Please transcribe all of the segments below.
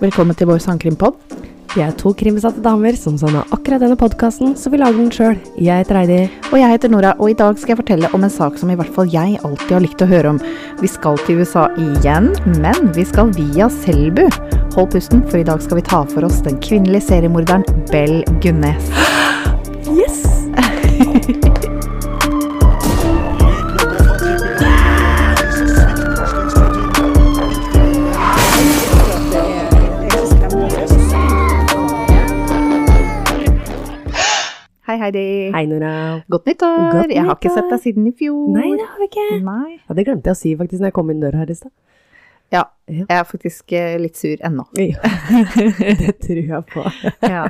Velkommen til vår sangkrimpod. Vi er to krimsatte damer som savna akkurat denne podkasten, så vi lager den sjøl. Jeg heter Heidi. Og jeg heter Nora, og i dag skal jeg fortelle om en sak som i hvert fall jeg alltid har likt å høre om. Vi skal til USA igjen, men vi skal via Selbu. Hold pusten, for i dag skal vi ta for oss den kvinnelige seriemorderen Bell Gunnes. Yes! Hei, Heidi. Hei, Nora. Godt nyttår. Godt Jeg har ikke nyttår. sett deg siden i fjor. Nei, det har vi ikke. Nei. Ja, det glemte jeg å si faktisk når jeg kom inn døra her i stad. Ja, Ja. jeg er faktisk eh, litt sur ennå. Ja, det tror jeg på. Ja,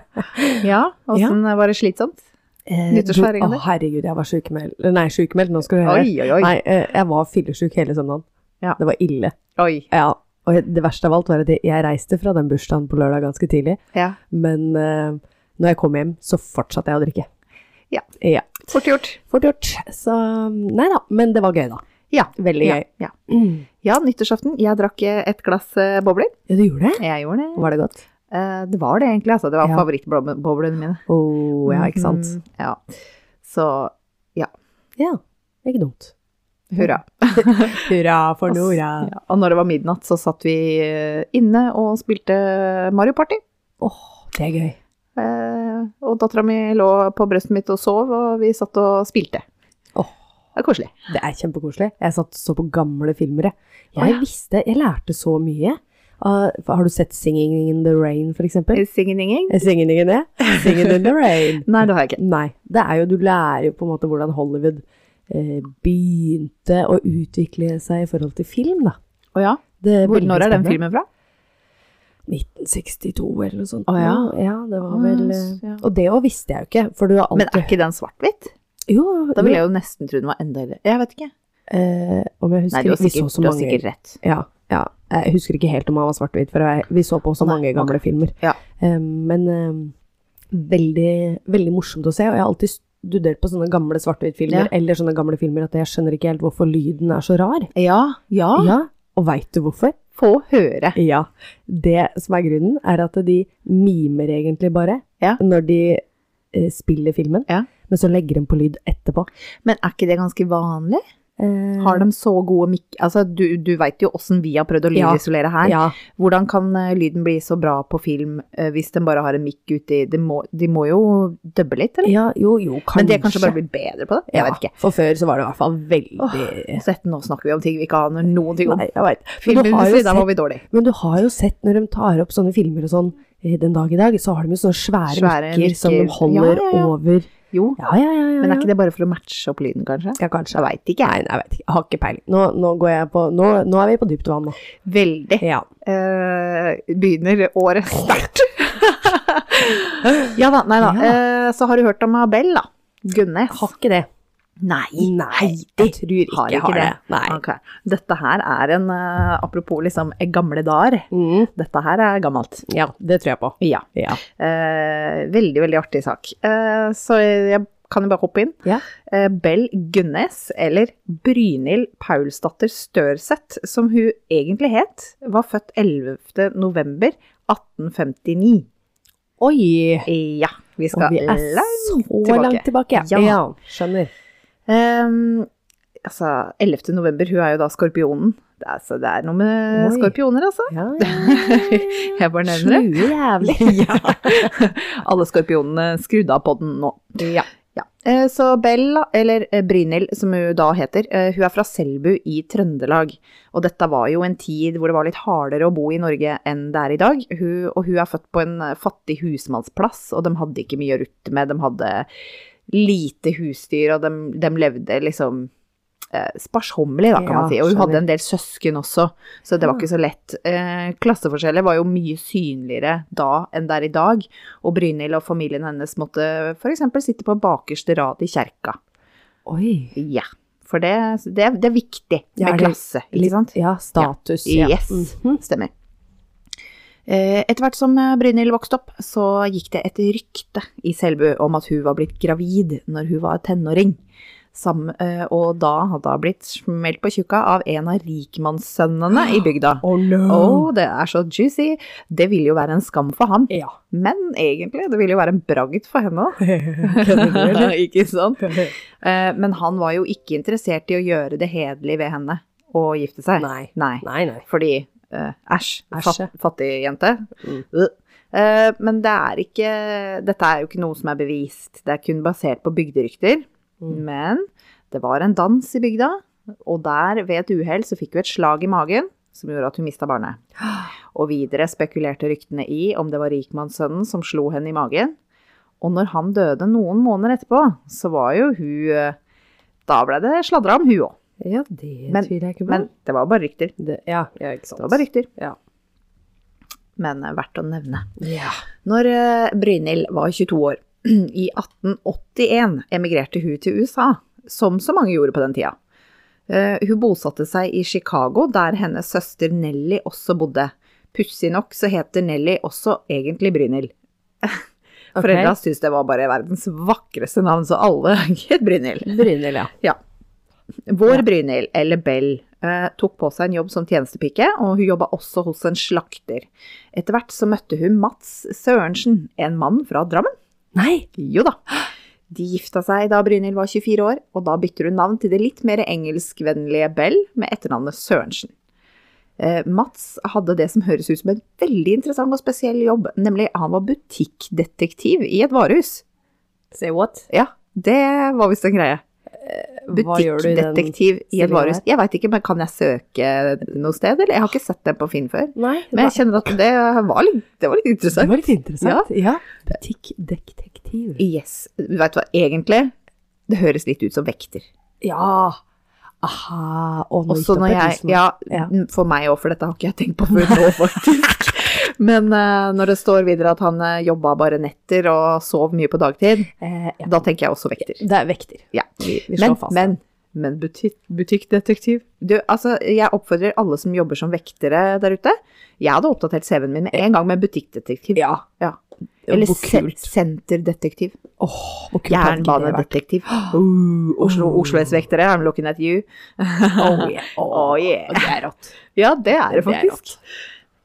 ja åssen var det slitsomt? Eh, Nyttårsfeiringen du- Å, herregud, jeg var sykemeldt. Nei, sykemeldt, nå skal du høre. Oi, oi, oi. Nei, eh, jeg var fyllesyk hele søndagen. Ja. Det var ille. Oi. Ja, og det verste av alt var at jeg reiste fra den bursdagen på lørdag ganske tidlig, Ja. men eh, når jeg kom hjem, så fortsatte jeg å drikke. Ja. Ja. Fort gjort. Fort gjort. Så mm, nei da, men det var gøy, da. Ja. Veldig Ja, Mm. gøy. ja. ja, nyttårsaften. Jeg drakk eh, et glass eh, bobler. Ja, du gjorde det? Jeg gjorde det. Var det godt? Eh, Det var det egentlig, altså. Det var Ja. favorittboblene mine. Å ja, ikke sant? Mhm, Ja. Så Ja. Ikke dumt. hurra. Hurra for Ass, ja. Og når det var midnatt, så satt vi eh, inne og spilte Mario Party. Åh, det er gøy. Eh, Og dattera mi lå på brøstet mitt og sov, og vi satt og spilte. Åh. Det er koselig. Det er kjempekoselig. Jeg satt og så på gamle filmer, jeg. Jeg Ja. visste, jeg lærte så mye. Ah, har du sett Singing in the Rain, for eksempel? Singeninging? Eh, Singing in the, Singing in the Rain. Nei, det har jeg ikke. Nei, det er jo, du lærer jo på en måte hvordan Hollywood eh, begynte å utvikle seg i forhold til film, da. Å ja? Det Hvor, veldig når er den spennende. filmen fra? 1962 eller noe sånt. Å, ja. ja, det var Å, vel s- eh, ja. Og det òg visste jeg jo ikke, for du har Men alltid er ikke den svart-hvitt? Jo, Da ville jeg jo nesten tro den var enda eldre. Jeg vet ikke. eh, Om jeg husker Nei, du har vi så sikkert, så du har mange sikkert rett. Ja, ja. Jeg husker ikke helt om han var svart-hvit, for jeg- vi så på så Nei, mange gamle filmer. Ja. Eh, men eh, veldig, veldig morsomt å se, og jeg har alltid studert på sånne gamle svart-hvit-filmer, Ja. eller sånne gamle filmer, at jeg skjønner ikke helt hvorfor lyden er så rar. Ja, ja. Ja, og veit du hvorfor? Få høre. Ja. Det som er grunnen, er at de mimer egentlig bare Ja. når de eh, spiller filmen, Ja. men så legger de på lyd etterpå. Men er ikke det ganske vanlig? Eh, Har de så gode mik... Altså, du, du veit jo åssen vi har prøvd å Ja. lydisolere her. Ja, Hvordan kan eh, lyden bli så bra på film eh, hvis den bare har en mikk uti de må, de må jo dubbe litt, eller? ja, jo, jo, kanskje. Men det kanskje bare blir bedre på det? Jeg ja, vet ikke. For før så var det i hvert fall veldig Så etter nå snakker vi om ting vi ikke aner noen ting om. Nei, jeg veit. Men, du har jo Filmindustri, der var sett- vi dårlige. men du har jo sett når de tar opp sånne filmer og sånn eh, den dag i dag, så har de jo sånne svære, Svære mikker, som de mikker. holder Ja, ja, ja. over Jo, Ja, ja, ja. ja, men er ja. ikke det bare for å matche opp lyden, kanskje? ja, kanskje. Jeg veit ikke, Nei, nei, jeg vet ikke. Jeg har ikke peiling. Nå, nå går jeg på Nå, nå er vi på dypt vann, nå. jeg. Veldig. Ja. eh, begynner året sterkt. ja da, nei da. Eh, så har du hørt om Abel, da. Gunnes. Har ikke det. Nei. Nei, jeg tror ikke har jeg ikke har det. det. Ok. Dette her er en eh, Apropos liksom gamle dager. Nei. Dette her er gammelt. Mm. Ja, det tror jeg på. Ja. Ja. Eh, veldig, veldig artig sak. Eh, så jeg kan jo bare hoppe inn. Ja. Eh, Bell Gunnes, eller Brynhild Paulsdatter Størseth, som hun egentlig het, var født 11. november 1859. Oi! Ja, vi Og skal vi er langt. så tilbake. langt tilbake. Ja. skjønner. Ehm, altså, 11. november, hun er jo da skorpionen. Det er, så det er noe med Oi. skorpioner, altså. Ja, ja. Jeg bare nevner det. Slue jævlig. ja. Alle skorpionene skrudd av på den nå. Ja. Ja. Eh, Så Bella, eller eh, Brynhild som hun da heter, eh, hun er fra Selbu i Trøndelag. Og dette var jo en tid hvor det var litt hardere å bo i Norge enn det er i dag. Hun, og hun er født på en eh, fattig husmannsplass, og de hadde ikke mye å rutte med. De hadde lite husdyr, og de, de levde liksom eh, sparsommelig, da, kan Ja, man si. Og hun skjønner. hadde en del søsken også, så det var Mm. ikke så lett. Eh, klasseforskjeller var jo mye synligere da enn det er i dag, og Brynhild og familien hennes måtte f.eks. sitte på bakerste rad i kjerka. Oi. Ja, for det, det, det er viktig Ja, med er det klasse, ikke sant? Ja, status. Ja. Yes, Mhm. stemmer. Eh, Etter hvert som eh, Brynhild vokste opp, så gikk det et rykte i Selbu om at hun var blitt gravid når hun var tenåring. Sam, eh, og da hadde hun blitt smelt på tjukka av en av rikmannssønnene i bygda. Oh no! Å, det er så juicy. Det ville jo være en skam for han. Ja. Men egentlig, det ville jo være en bragd for henne òg. ikke sant? Eh, Men han var jo ikke interessert i å gjøre det hederlig ved henne å gifte seg. Nei. Nei, nei. Fordi eh, æsj, Æsj, fat, ja. fattig jente. Mm. Øh. Eh, men det er ikke Dette er jo ikke noe som er bevist. Det er kun basert på bygderykter. Mm. Men det var en dans i bygda, og der ved et uhell så fikk hun et slag i magen som gjorde at hun mista barnet. Og videre spekulerte ryktene i om det var rikmannssønnen som slo henne i magen. Og når han døde noen måneder etterpå, så var jo hun eh, Da ble det sladra om hun òg. Ja, det Men- tviler jeg ikke på. Men det var bare rykter. det, ja, ja, ikke sant. Det var bare rykter. Ja. Men eh, verdt å nevne. Ja. Når eh, Brynhild var 22 år, i 1881 emigrerte hun til USA, som så mange gjorde på den tida. Eh, Hun bosatte seg i Chicago, der hennes søster Nelly også bodde. Pussig nok så heter Nelly også egentlig Brynhild. Ok. Foreldra syntes det var bare verdens vakreste navn, så alle het Brynhild. Brynhild, ja. Vår Ja. Brynhild, eller Bell, eh, tok på seg en jobb som tjenestepike, og hun jobba også hos en slakter. Etter hvert så møtte hun Mats Sørensen, en mann fra Drammen. Nei! Jo da. De gifta seg da Brynhild var 24 år, og da bytter hun navn til det litt mer engelskvennlige Bell med etternavnet Sørensen. Eh, Mats hadde det som høres ut som en veldig interessant og spesiell jobb, nemlig han var butikkdetektiv i et varehus. Say what? Ja, det var visst en greie. Hva gjør du i den Butikkdetektiv i et stillingen varehus. Jeg veit ikke, men kan jeg søke noe sted, eller? Jeg har ikke sett den på Finn før. Nei, Men jeg kjenner at det var litt, det var litt det interessant. var litt interessant. Ja. Butikkdetektiv. Yes. Du veit hva, egentlig det høres litt ut som vekter. Ja! Aha. Og Også når jeg Ja, Ja. for meg òg, for dette har ikke jeg tenkt på før nå, faktisk. Men eh, når det står videre at han uh, jobba bare netter og sov mye på dagtid, Eh, ja. da tenker jeg også vekter. Det er vekter. Ja. Vi, vi slår Men, fast. men, men butikk, butikkdetektiv du, altså, Jeg oppfordrer alle som jobber som vektere der ute. Jeg hadde oppdatert CV-en min med en gang med butikkdetektiv. Ja. Ja. Hvor Eller se- kult. senterdetektiv. Åh, hvor kult hadde ikke det vært? Jernbanedetektiv. Uh, Oslo, Oslo S-vektere, I'm looking at you. Oh, yeah. Oh, yeah. Det er rått. Ja, det er det Det er faktisk.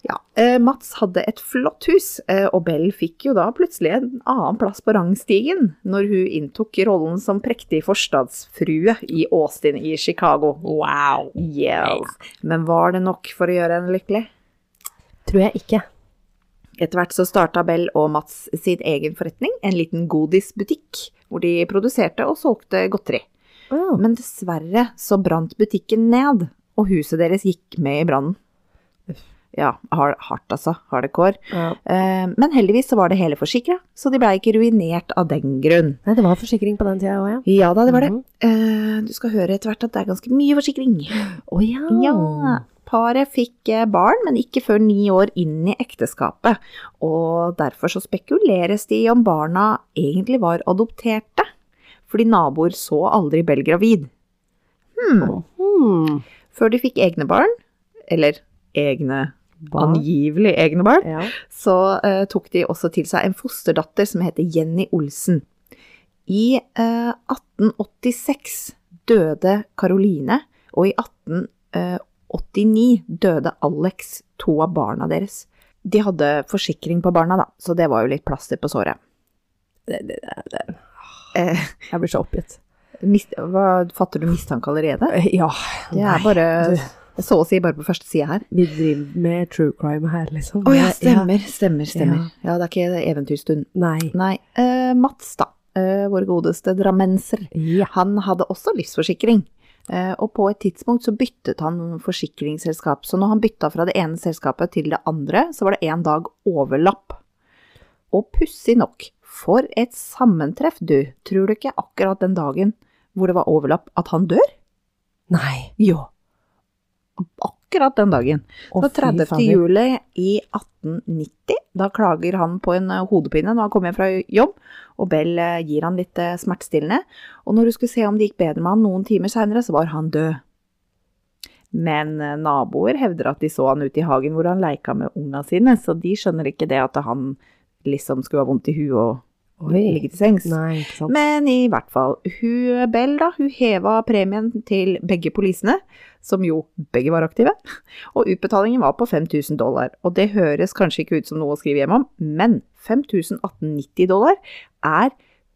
Ja, eh, Mats hadde et flott hus, eh, og Bell fikk jo da plutselig en annen plass på rangstigen når hun inntok rollen som prektig forstadsfrue i Austin i Chicago. Wow. Yes. Men var det nok for å gjøre henne lykkelig? Tror jeg ikke. Etter hvert så starta Bell og Mats sin egen forretning, en liten godisbutikk, hvor de produserte og solgte godteri. Oh. Men dessverre så brant butikken ned, og huset deres gikk med i brannen. Ja, har- hardt altså, hardcore. Ja. Eh, Men heldigvis så var det hele forsikra, så de blei ikke ruinert av den grunn. Nei, det var forsikring på den tida òg, ja. Ja da, det var det. Mhm. Eh, Du skal høre etter hvert at det er ganske mye forsikring. Å ja. Ja. Paret fikk eh, barn, men ikke før ni år inn i ekteskapet. Og derfor så spekuleres de om barna egentlig var adopterte. Fordi naboer så aldri Bell gravid. Hmm. Før de fikk egne barn, eller egne, Barn. angivelig egne barn, Ja. så eh, tok de også til seg en fosterdatter som heter Jenny Olsen. I eh, 1886 døde Caroline, og i 1889 døde Alex, to av barna deres. De hadde forsikring på barna, da, så det var jo litt plaster på såret. Det, det, det, det. Eh, Jeg blir så oppgitt. mis hva, fatter du mistanke allerede? Eh, Ja. Det er Nei. bare du. så å si bare på første side her. Vi driver med true crime her, liksom. Å ja, Det- stemmer, stemmer, stemmer. Ja, det er ikke eventyrstund. Nei. Nei, eh, Mats da, eh, vår godeste drammenser, Ja. han hadde også livsforsikring. Eh, og på et tidspunkt så byttet han forsikringsselskap, så når han bytta fra det ene selskapet til det andre, så var det en dag overlapp. Og pussig nok, for et sammentreff du, tror du ikke akkurat den dagen hvor det var overlapp at han dør? Nei. Jo, akkurat den dagen. Å, Så fy 30. fader. juli i 1890, da klager han på en eh, hodepine når han kommer hjem fra jobb, og Bell eh, gir han litt eh, smertestillende. Og når du skulle se om det gikk bedre med han noen timer seinere, så var han død. Men eh, naboer hevder at de så han ute i hagen hvor han leika med unga sine, så de skjønner ikke det at han liksom skulle ha vondt i huet og Oi. ligge til sengs. Nei, ikke sant. Men i hvert fall, hun Bell da, hun heva premien til begge polisene, som jo begge var aktive, og utbetalingen var på 5000 dollar. Og det høres kanskje ikke ut som noe å skrive hjem om, men 5890 dollar er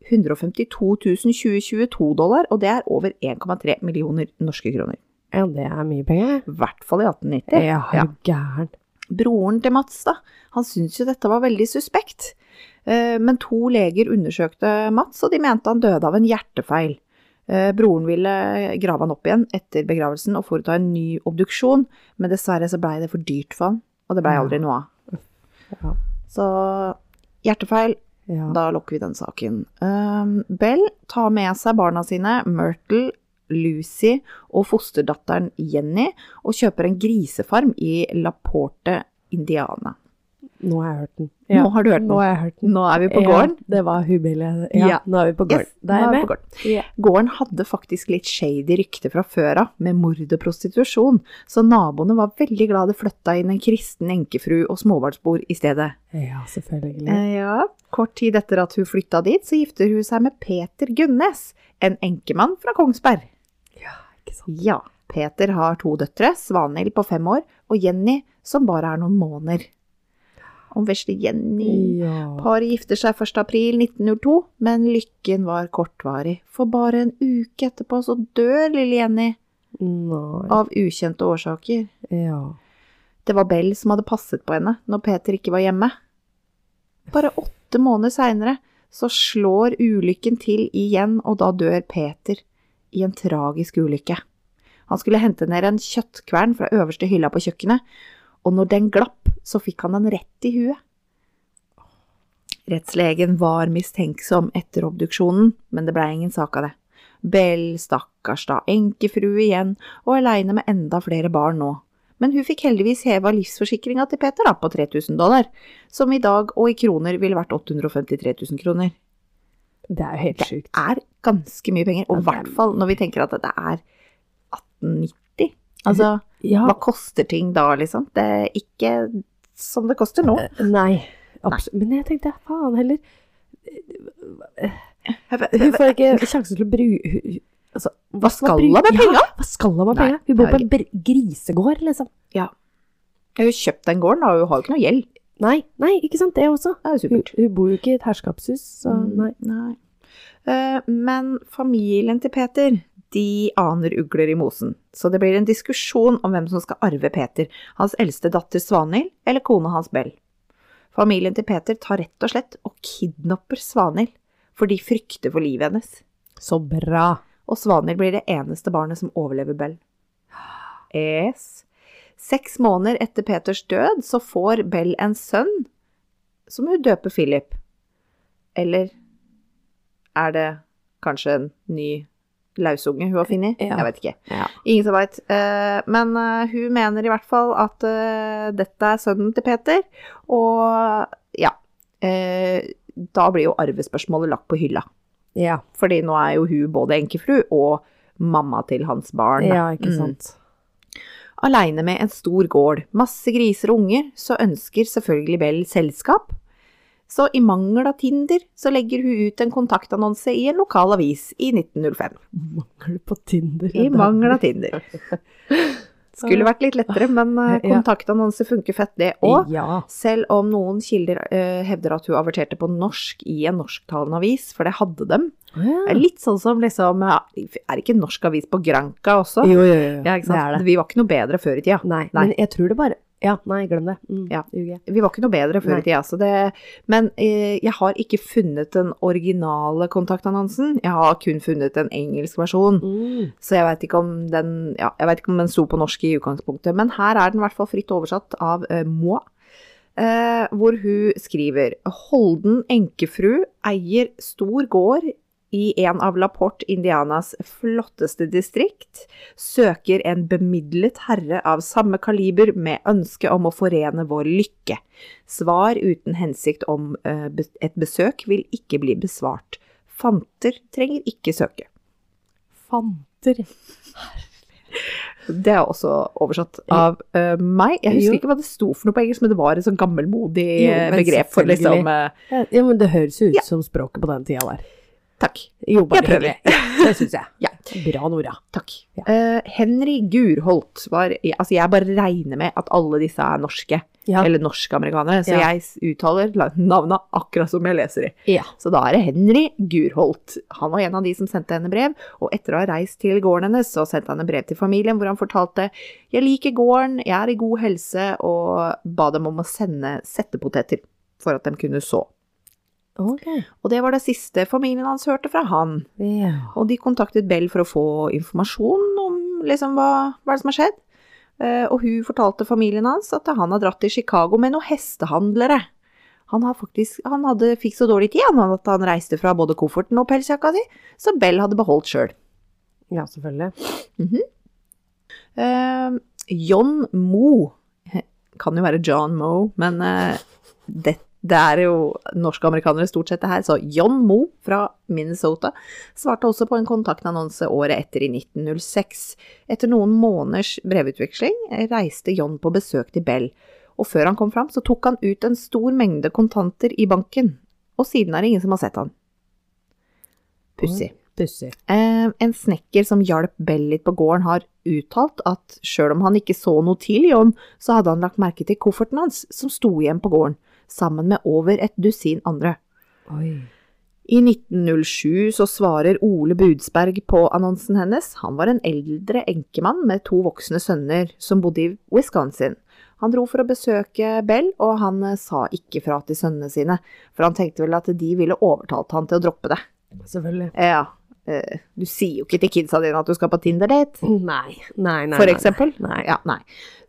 152 2022 dollar, og det er over 1,3 millioner norske kroner. ja, det er mye penger. I hvert fall i 1890. Ja, ja. gæren. Broren til Mats, da, han syntes jo dette var veldig suspekt. Eh, Men to leger undersøkte Mats, og de mente han døde av en hjertefeil. Eh, Broren ville grave han opp igjen etter begravelsen og foreta en ny obduksjon, men dessverre så blei det for dyrt for han, og det blei aldri noe av. Ja. Så hjertefeil, Ja. da lukker vi den saken. Um, Bell tar med seg barna sine, Myrtle, Lucy og fosterdatteren Jenny, og kjøper en grisefarm i La Porte, Indiana. Nå har jeg hørt den. Nå har du hørt Nå noe. har jeg hørt den. Nå er vi på gården. Ja, det var hubile. Ja, Ja. nå er vi på gården. Yes, da nå er jeg er vi med. på gården. Gården hadde faktisk litt shady rykte fra før av, med mord og prostitusjon, så naboene var veldig glad det flytta inn en kristen enkefru og småbarnsbor i stedet. Ja, selvfølgelig. Eh, Ja, kort tid etter at hun flytta dit, så gifter hun seg med Peter Gunnes, en enkemann fra Kongsberg. ja, ikke sant. Ja, Peter har to døtre, Svanhild på fem år, og Jenny, som bare er noen måneder. Om vesle Jenny. Ja. Paret gifter seg 1. april 1902, men lykken var kortvarig, for bare en uke etterpå så dør lille Jenny, Nei. av ukjente årsaker. Ja. Det var Bell som hadde passet på henne når Peter ikke var hjemme. Bare åtte måneder seinere så slår ulykken til igjen, og da dør Peter i en tragisk ulykke. Han skulle hente ned en kjøttkvern fra øverste hylla på kjøkkenet, og når den glapp, så fikk han den rett i huet. Rettslegen var mistenksom etter obduksjonen, men det blei ingen sak av det. Bell, stakkars da, enkefrue igjen, og aleine med enda flere barn nå men hun fikk heldigvis heva livsforsikringa til Peter da, på 3000 dollar, som i dag og i kroner ville vært 853 000 kroner. Det er jo helt sjukt. Det er ganske mye penger, og i Ja, det er hvert fall når vi tenker at det er 1890. Altså, Ja. hva koster ting da, liksom? Det er ikke som det koster nå. Nei. Absolutt. Men jeg tenkte, faen heller. Hun Hva får ikke sjansen til å bruke hun- hun- altså, Eh, Hva skal bru- hun med Ja, penga? Hva skal hun med Nei, penga? Hun bor på en br- grisegård, liksom. Hun har kjøpt den gården, da, hun har jo ikke noe gjeld. Nei, nei, ikke sant, det også. Det er jo Hun, supert. hun bor jo ikke i et herskapshus, så Mm, nei. nei. Eh, men familien til Peter, de aner ugler i mosen. Så det blir en diskusjon om hvem som skal arve Peter, hans eldste datter Svanhild eller kona hans Bell. Familien til Peter tar rett og slett og kidnapper Svanhild, for de frykter for livet hennes. Så bra. Og Svanhild blir det eneste barnet som overlever Bell. Yes. Seks måneder etter Peters død så får Bell en sønn, som hun døper Philip. Eller er det kanskje en ny lausunge hun har funnet? Ja. Jeg vet ikke. Ja. Ingen som veit. Men eh, hun mener i hvert fall at eh, dette er sønnen til Peter, og ja. eh, Da blir jo arvespørsmålet lagt på hylla. Ja, Fordi nå er jo hun både enkefru og mamma til hans barn. da. ja ikke Mm. sant. Aleine med en stor gård, masse griser og unger, så ønsker selvfølgelig Bell selskap. Så i mangel av Tinder, så legger hun ut en kontaktannonse i en lokal avis i 1905. Mangel på Tinder. I mangel av Tinder. Skulle vært litt lettere, men eh, Ja. kontaktannonse funker fett, det òg. Ja. Selv om noen kilder eh, hevder at hun averterte på norsk i en norsktalende avis, for det hadde dem. Det er ja. Litt sånn som liksom ja, Er det ikke en norsk avis på Granka også? Jo, jo, jo. Ja, ikke sant? Det er det. Vi var ikke noe bedre før i tida. Nei, Nei. men jeg tror det bare Ja, nei, glem det. Mm, Ja. UG. Vi var ikke noe bedre før Nei. i tida, så det Men eh, jeg har ikke funnet den originale kontaktannonsen. Jeg har kun funnet en engelsk versjon, Mm. så jeg veit ikke om den Ja, jeg vet ikke om den sto på norsk i utgangspunktet, men her er den i hvert fall fritt oversatt av eh, Moi. Eh, hvor hun skriver Holden enkefru eier stor gård i en av La Porte, Indianas flotteste distrikt, søker en bemidlet herre av samme kaliber med ønske om å forene vår lykke. Svar uten hensikt om eh, be- et besøk vil ikke bli besvart. Fanter trenger ikke søke. Fanter. Det er også oversatt av eh, meg. Jeg husker Jo. ikke hva det sto for noe på engelsk, men det var et sånn gammelmodig Jo, eh, men begrep for liksom selvfølgelig. eh, Ja, ja, men det høres jo ut Ja. som språket på den tida der. Takk. Jo, bare Jeg prøver. hyggelig. Det syns jeg. Ja. Bra, Nora. Takk. Ja. Eh, Henry Gurholt var Altså, jeg bare regner med at alle disse er norske, Ja. eller norsk-amerikanere, så Ja. jeg s- uttaler la- navnet akkurat som jeg leser de. ja. Så da er det Henry Gurholt. Han var en av de som sendte henne brev, og etter å ha reist til gården hennes, så sendte han en brev til familien hvor han fortalte «Jeg liker gården, jeg er i god helse», og ba dem om å sende settepoteter for at de kunne så. Ok. Og det var det siste familien hans hørte fra han. Ja. Og de kontaktet Bell for å få informasjon om liksom, hva, hva er det som har skjedd. Eh, og hun fortalte familien hans at han har dratt til Chicago med noen hestehandlere. Han, har faktisk, han hadde, fikk så dårlig tid han, at han reiste fra både kofferten og pelsjakka si, som Bell hadde beholdt sjøl. ja, selvfølgelig. Eh, John Moe Kan jo være John Moe, men eh, det, det er jo norske amerikanere stort sett det her. Så John Moe fra Minnesota svarte også på en kontaktannonse året etter i 1906. Etter noen måneders brevutveksling eh, reiste John på besøk til Bell, og før han kom fram så tok han ut en stor mengde kontanter i banken, og siden er det ingen som har sett han. Pussig. Pussig. Eh, en snekker som hjalp Bell litt på gården, har uttalt at sjøl om han ikke så noe til John, så hadde han lagt merke til kofferten hans, som sto igjen på gården, sammen med over et dusin andre. Oi. I 1907 så svarer Ole Budsberg på annonsen hennes. Han var en eldre enkemann med to voksne sønner som bodde i Wisconsin. Han dro for å besøke Bell, og han eh, sa ikke fra til sønnene sine, for han tenkte vel at de ville overtalt han til å droppe det. Selvfølgelig. Ja. eh, Du sier jo ikke til kidsa dine at du skal på Tinder-date, Nei. Nei, nei. for nei, eksempel. Nei. Ja, nei.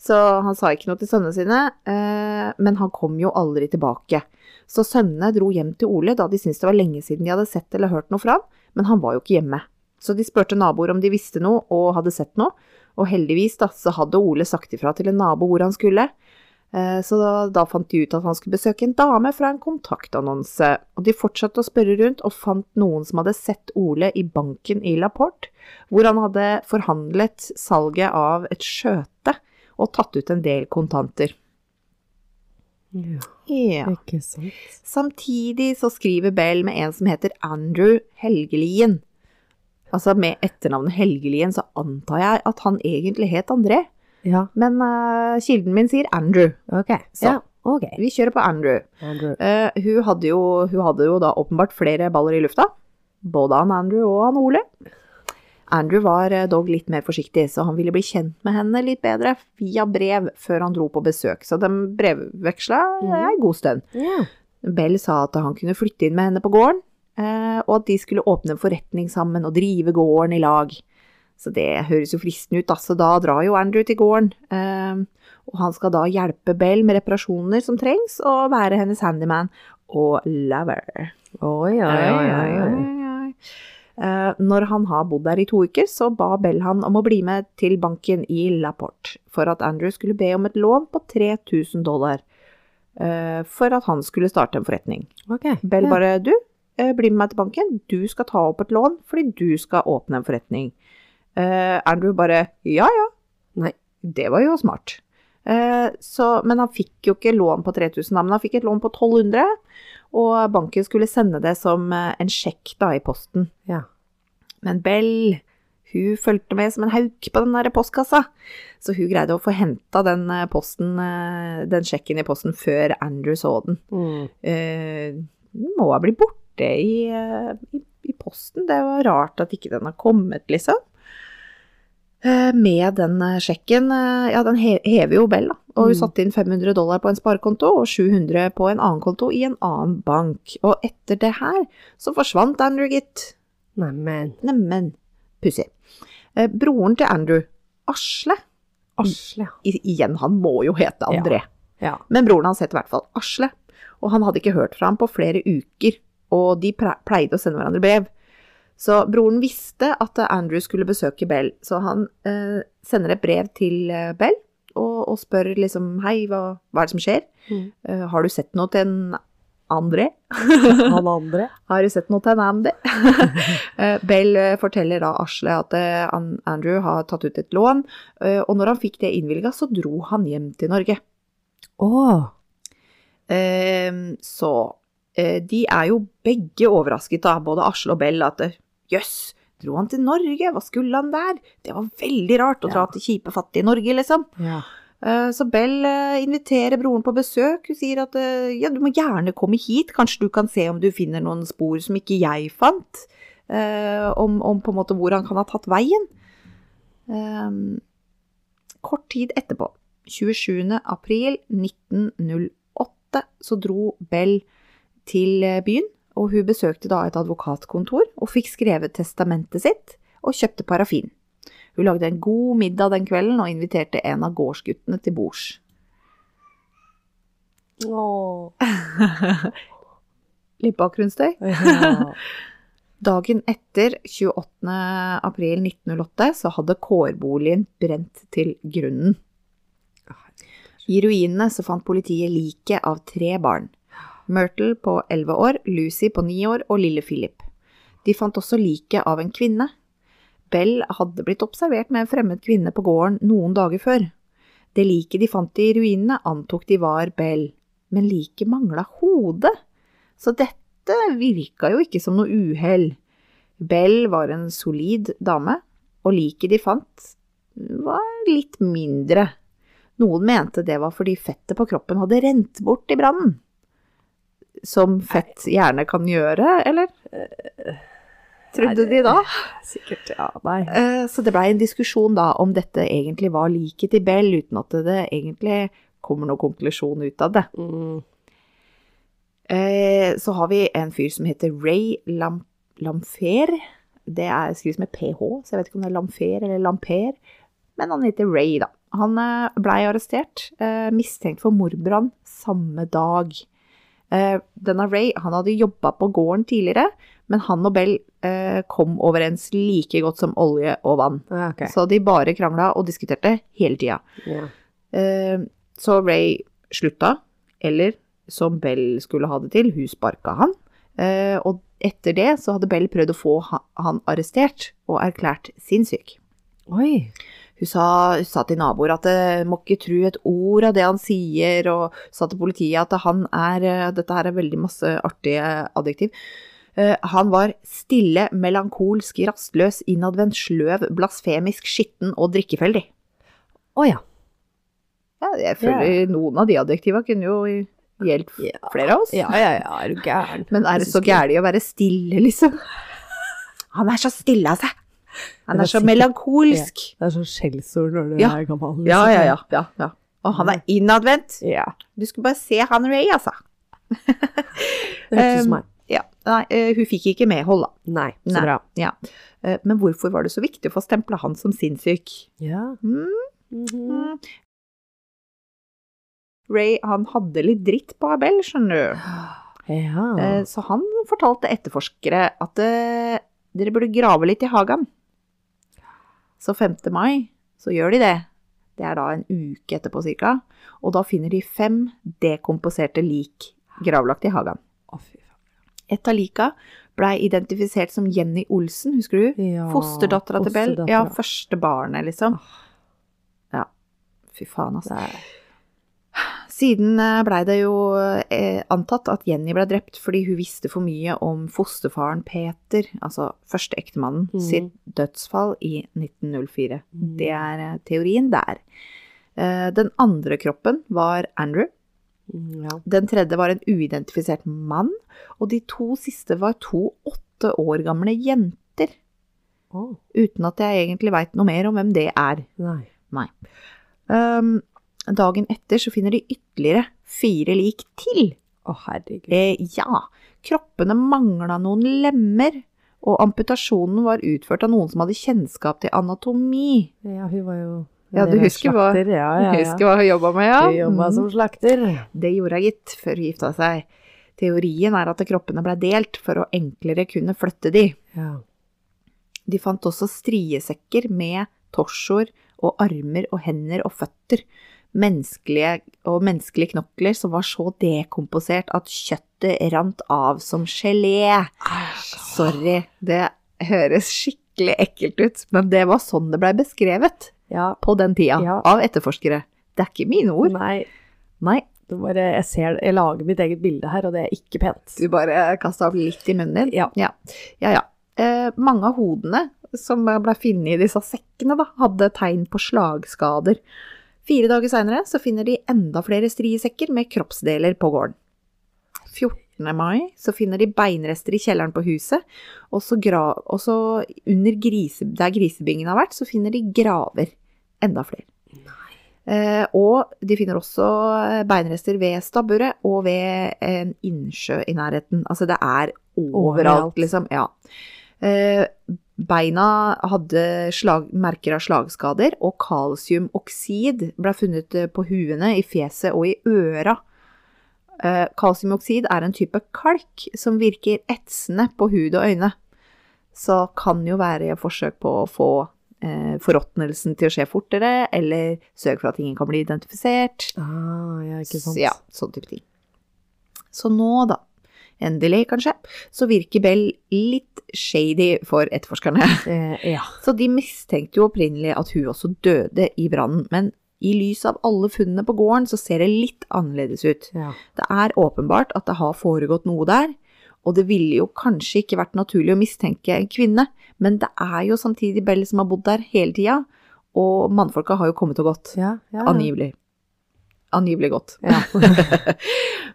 Så han sa ikke noe til sønnene sine, eh, men han kom jo aldri tilbake. Så sønnene dro hjem til Ole da de syntes det var lenge siden de hadde sett eller hørt noe fra han, men han var jo ikke hjemme. Så de spurte naboer om de visste noe og hadde sett noe, og heldigvis da, så hadde Ole sagt ifra til en nabo hvor han skulle. Eh, Så da, da fant de ut at han skulle besøke en dame fra en kontaktannonse, og de fortsatte å spørre rundt og fant noen som hadde sett Ole i banken i La Porte, hvor han hadde forhandlet salget av et skjøte og tatt ut en del kontanter. nei. Ja. Ja. Ikke sant. Samtidig så skriver Bell med en som heter Andrew Helgelien. Altså med etternavnet Helgelien så antar jeg at han egentlig het André, Ja, men eh, kilden min sier Andrew. ok. Så. Ja, ok. Vi kjører på Andrew. Andrew. Eh, hun, hadde jo, hun hadde jo da åpenbart flere baller i lufta. Både han Andrew og han Ole. Andrew var eh, dog litt mer forsiktig, så han ville bli kjent med henne litt bedre via brev før han dro på besøk, så de brevveksla eh, en god stund. Ja. Bell sa at han kunne flytte inn med henne på gården, eh, og at de skulle åpne en forretning sammen og drive gården i lag. Så det høres jo fristende ut, da, så da drar jo Andrew til gården. Eh, og han skal da hjelpe Bell med reparasjoner som trengs, og være hennes handyman og lover. Oi, oi, oi, oi, oi. oi. Eh, Når han har bodd der i to uker, så ba Bell han om å bli med til banken i La Porte for at Andrew skulle be om et lån på 3000 dollar eh, for at han skulle starte en forretning. Ok. Bell Mm, ja. bare du, eh, bli med meg til banken, du skal ta opp et lån fordi du skal åpne en forretning. Eh, Andrew bare ja ja. Nei. Det var jo smart. Eh, så, men han fikk jo ikke lån på 3000, da, men han fikk et lån på 1200. Og banken skulle sende det som eh, en sjekk da i posten. Ja. Men Bell, hun fulgte med som en hauk på den der postkassa. Så hun greide å få henta den, eh, posten, eh, den sjekken i posten før Andrew så den. Mm. Eh, den må ha blitt borte i, eh, i, i posten. Det var rart at ikke den har kommet, liksom. Eh, med den eh, sjekken eh, Ja, den he hever jo Bell, da. Og hun Mm. satte inn 500 dollar på en sparekonto og 700 på en annen konto i en annen bank. Og etter det her så forsvant Andrew, gitt. Neimen, Neimen, pussig. Eh, broren til Andrew, Asle Asle. i- Igjen, han må jo hete André. Ja. Men broren hans het i hvert fall Asle, og han hadde ikke hørt fra ham på flere uker, og de pre- pleide å sende hverandre brev. Så broren visste at eh, Andrew skulle besøke Bell, så han eh, sender et brev til eh, Bell og, og spør liksom hei, hva, hva er det som skjer? Mm. Eh, har du sett noe til en André. Han andre. Har du sett noe til Andy? Eh, Bell eh, forteller da Asle at eh, An- Andrew har tatt ut et lån, eh, og når han fikk det innvilga, så dro han hjem til Norge. Å, Eh, Så eh, de er jo begge overrasket, da, både Asle og Bell, at eh, jøss, dro han til Norge, hva skulle han der? Det var veldig rart å dra Ja. til kjipe, fattige Norge, liksom. ja. Eh, Så Bell eh, inviterer broren på besøk. Hun sier at eh, ja, du må gjerne komme hit, kanskje du kan se om du finner noen spor som ikke jeg fant, eh, om, om på en måte hvor han kan ha tatt veien. Eh, Kort tid etterpå, 27. april 1908, så dro Bell til eh, byen, og hun besøkte da et advokatkontor og fikk skrevet testamentet sitt og kjøpte parafin. Hun lagde en god middag den kvelden og inviterte en av gårdsguttene til bords. Å. Litt bakgrunnsstøy. Ja. Dagen etter, 28. april 1908, så hadde kårboligen brent til grunnen. I ruinene så fant politiet liket av tre barn. Myrtle på 11 år, Lucy på 9 år og lille Philip. De fant også liket av en kvinne. Bell hadde blitt observert med en fremmed kvinne på gården noen dager før. Det liket de fant i ruinene, antok de var Bell, men liket mangla hodet. Så dette virka jo ikke som noe uhell. Bell var en solid dame, og liket de fant, var litt mindre. Noen mente det var fordi fettet på kroppen hadde rent bort i brannen. Som fett gjerne kan gjøre, eller? Trodde de da? Sikkert. Ja, nei. Eh, Så det blei en diskusjon da om dette egentlig var liket til Bell, uten at det egentlig kommer noen konklusjon ut av det. Mm. Eh, Så har vi en fyr som heter Ray Lam Lamfer. Det er skrives med ph, så jeg vet ikke om det er Lamfer eller Lamper. Men han heter Ray, da. Han eh, blei arrestert, eh, mistenkt for mordbrann samme dag. Eh, Denne Ray han hadde jobba på gården tidligere, men han og Bell eh, kom overens like godt som olje og vann. Ja, ok. Så de bare krangla og diskuterte hele tida. Ja. Eh, Så Ray slutta, eller som Bell skulle ha det til, hun sparka han. Eh, Og etter det så hadde Bell prøvd å få ha- han arrestert og erklært sinnssyk. Oi. Hun sa, hun sa til naboer at eh, må ikke tro et ord av det han sier, og sa til politiet at han er eh, Dette her er veldig masse artige adjektiv. Eh, Han var stille, melankolsk, rastløs, innadvendt, sløv, blasfemisk, skitten og drikkefeldig. Å ja. Ja, jeg føler noen av de adjektiva kunne jo gjeldt f- Ja. flere av oss. Ja, ja, ja, er du gæren? Men er det så gæren? gærent å være stille, liksom? Han er så stille av seg. Han Det er var så sikkert- melankolsk. Det er sånn skjellsord når du Ja. er gammel. Ja, liksom. ja, ja. ja, ja. Og han er innadvendt. Ja. Du skulle bare se han Ray, altså. Det hørtes ut som Um, meg. Ja. Nei, eh, hun fikk ikke medhold, da. Nei, så Nei. bra. Ja. Eh, Men hvorfor var det så viktig å få stempla han som sinnssyk? Ja. Hmm? Mm. Mhm. Ray, han hadde litt dritt på Abel, skjønner du. Ja. Eh, Så han fortalte etterforskere at eh, dere burde grave litt i hagen. Så 5. mai så gjør de det. Det er da en uke etterpå cirka. Og da finner de fem dekomposerte lik gravlagt i hagen. Å, fy faen. Et av lika blei identifisert som Jenny Olsen, husker du? Ja. Fosterdattera til Bell. Ja, fosterdattera. første barnet, liksom. Ja. Fy faen, altså. Det er- Siden eh, blei det jo eh, antatt at Jenny ble drept fordi hun visste for mye om fosterfaren Peter, altså førsteektemannen, Mhm. sitt dødsfall i 1904. Mhm. Det er eh, teorien der. Eh, Den andre kroppen var Andrew, Mm, ja. den tredje var en uidentifisert mann, og de to siste var to åtte år gamle jenter, Å, uten at jeg egentlig veit noe mer om hvem det er. nei. Um, dagen etter så finner de ytterligere fire lik til. Å, herregud. Eh, ja, kroppene mangla noen lemmer, og amputasjonen var utført av noen som hadde kjennskap til anatomi. Ja, hun var jo Ja, en du del av husker hva- slakter. Ja, ja, ja. Husker hva hun jobba med, ja. Hun jobba som slakter. Mm, Det gjorde hun gitt, før hun gifta seg. Teorien er at kroppene blei delt for å enklere kunne flytte de. Ja. De fant også striesekker med torsoer og armer og hender og føtter, menneskelige og menneskelige knokler som var så dekomposert at kjøttet rant av som gelé. Sorry, det høres skikkelig ekkelt ut, men det var sånn det blei beskrevet Ja. på den tida Ja. av etterforskere. Det er ikke mine ord. Nei, Nei, det bare, jeg, ser, jeg lager mitt eget bilde her, og det er ikke pent. du bare kasta opp litt i munnen din. Ja. Ja, ja. ja. Eh, mange av hodene som ble funnet i disse sekkene, da, hadde tegn på slagskader. Fire dager seinere så finner de enda flere striesekker med kroppsdeler på gården. 14. mai så finner de beinrester i kjelleren på huset, og så, gra og så under grise der grisebingen har vært, så finner de graver. Enda flere. Eh, og de finner også eh, beinrester ved stabburet og ved en innsjø i nærheten. Altså det er overalt, Overalt. liksom. Ja. Eh, beina hadde slag, merker av slagskader, og kalsiumoksid ble funnet eh, på huene, i fjeset og i øra. Eh, Kalsiumoksid er en type kalk som virker etsende på hud og øyne. Så kan jo være i forsøk på å få eh, forråtnelsen til å skje fortere, eller søk for at ingen kan bli identifisert. Ah, ja, ikke sant. Så Ja, sånn type ting. Så nå, da, endelig kanskje, så virker Bell litt shady for etterforskerne. Eh, ja. Så de mistenkte jo opprinnelig at hun også døde i brannen, men i lys av alle funnene på gården, så ser det litt annerledes ut. ja. Det er åpenbart at det har foregått noe der, og det ville jo kanskje ikke vært naturlig å mistenke en kvinne, men det er jo samtidig Bell som har bodd der hele tida, og mannfolka har jo kommet og gått. Ja, ja. Angivelig. Angivelig godt. Ja.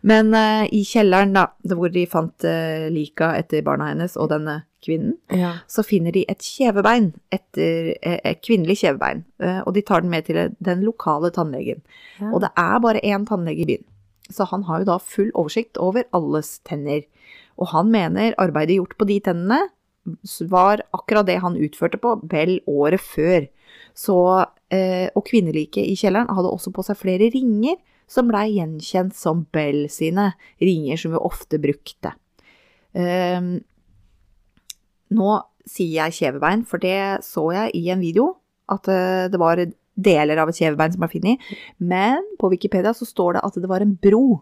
Men eh, i kjelleren, da, hvor de fant uh, lika etter barna hennes og denne kvinnen, ja. så finner de et kjevebein, etter, eh, et kvinnelig kjevebein, eh, og de tar den med til eh, den lokale tannlegen. Ja. Og det er bare én tannlege i byen, så han har jo da full oversikt over alles tenner. Og han mener arbeidet gjort på de tennene var akkurat det han utførte på Bell året før. Så, eh, og kvinneliket i kjelleren hadde også på seg flere ringer som blei gjenkjent som Bell sine, ringer som vi ofte brukte. Ehm, nå sier jeg kjevebein, for det så jeg i en video, at eh, det var deler av et kjevebein som er funnet. Men på Wikipedia så står det at det var en bro,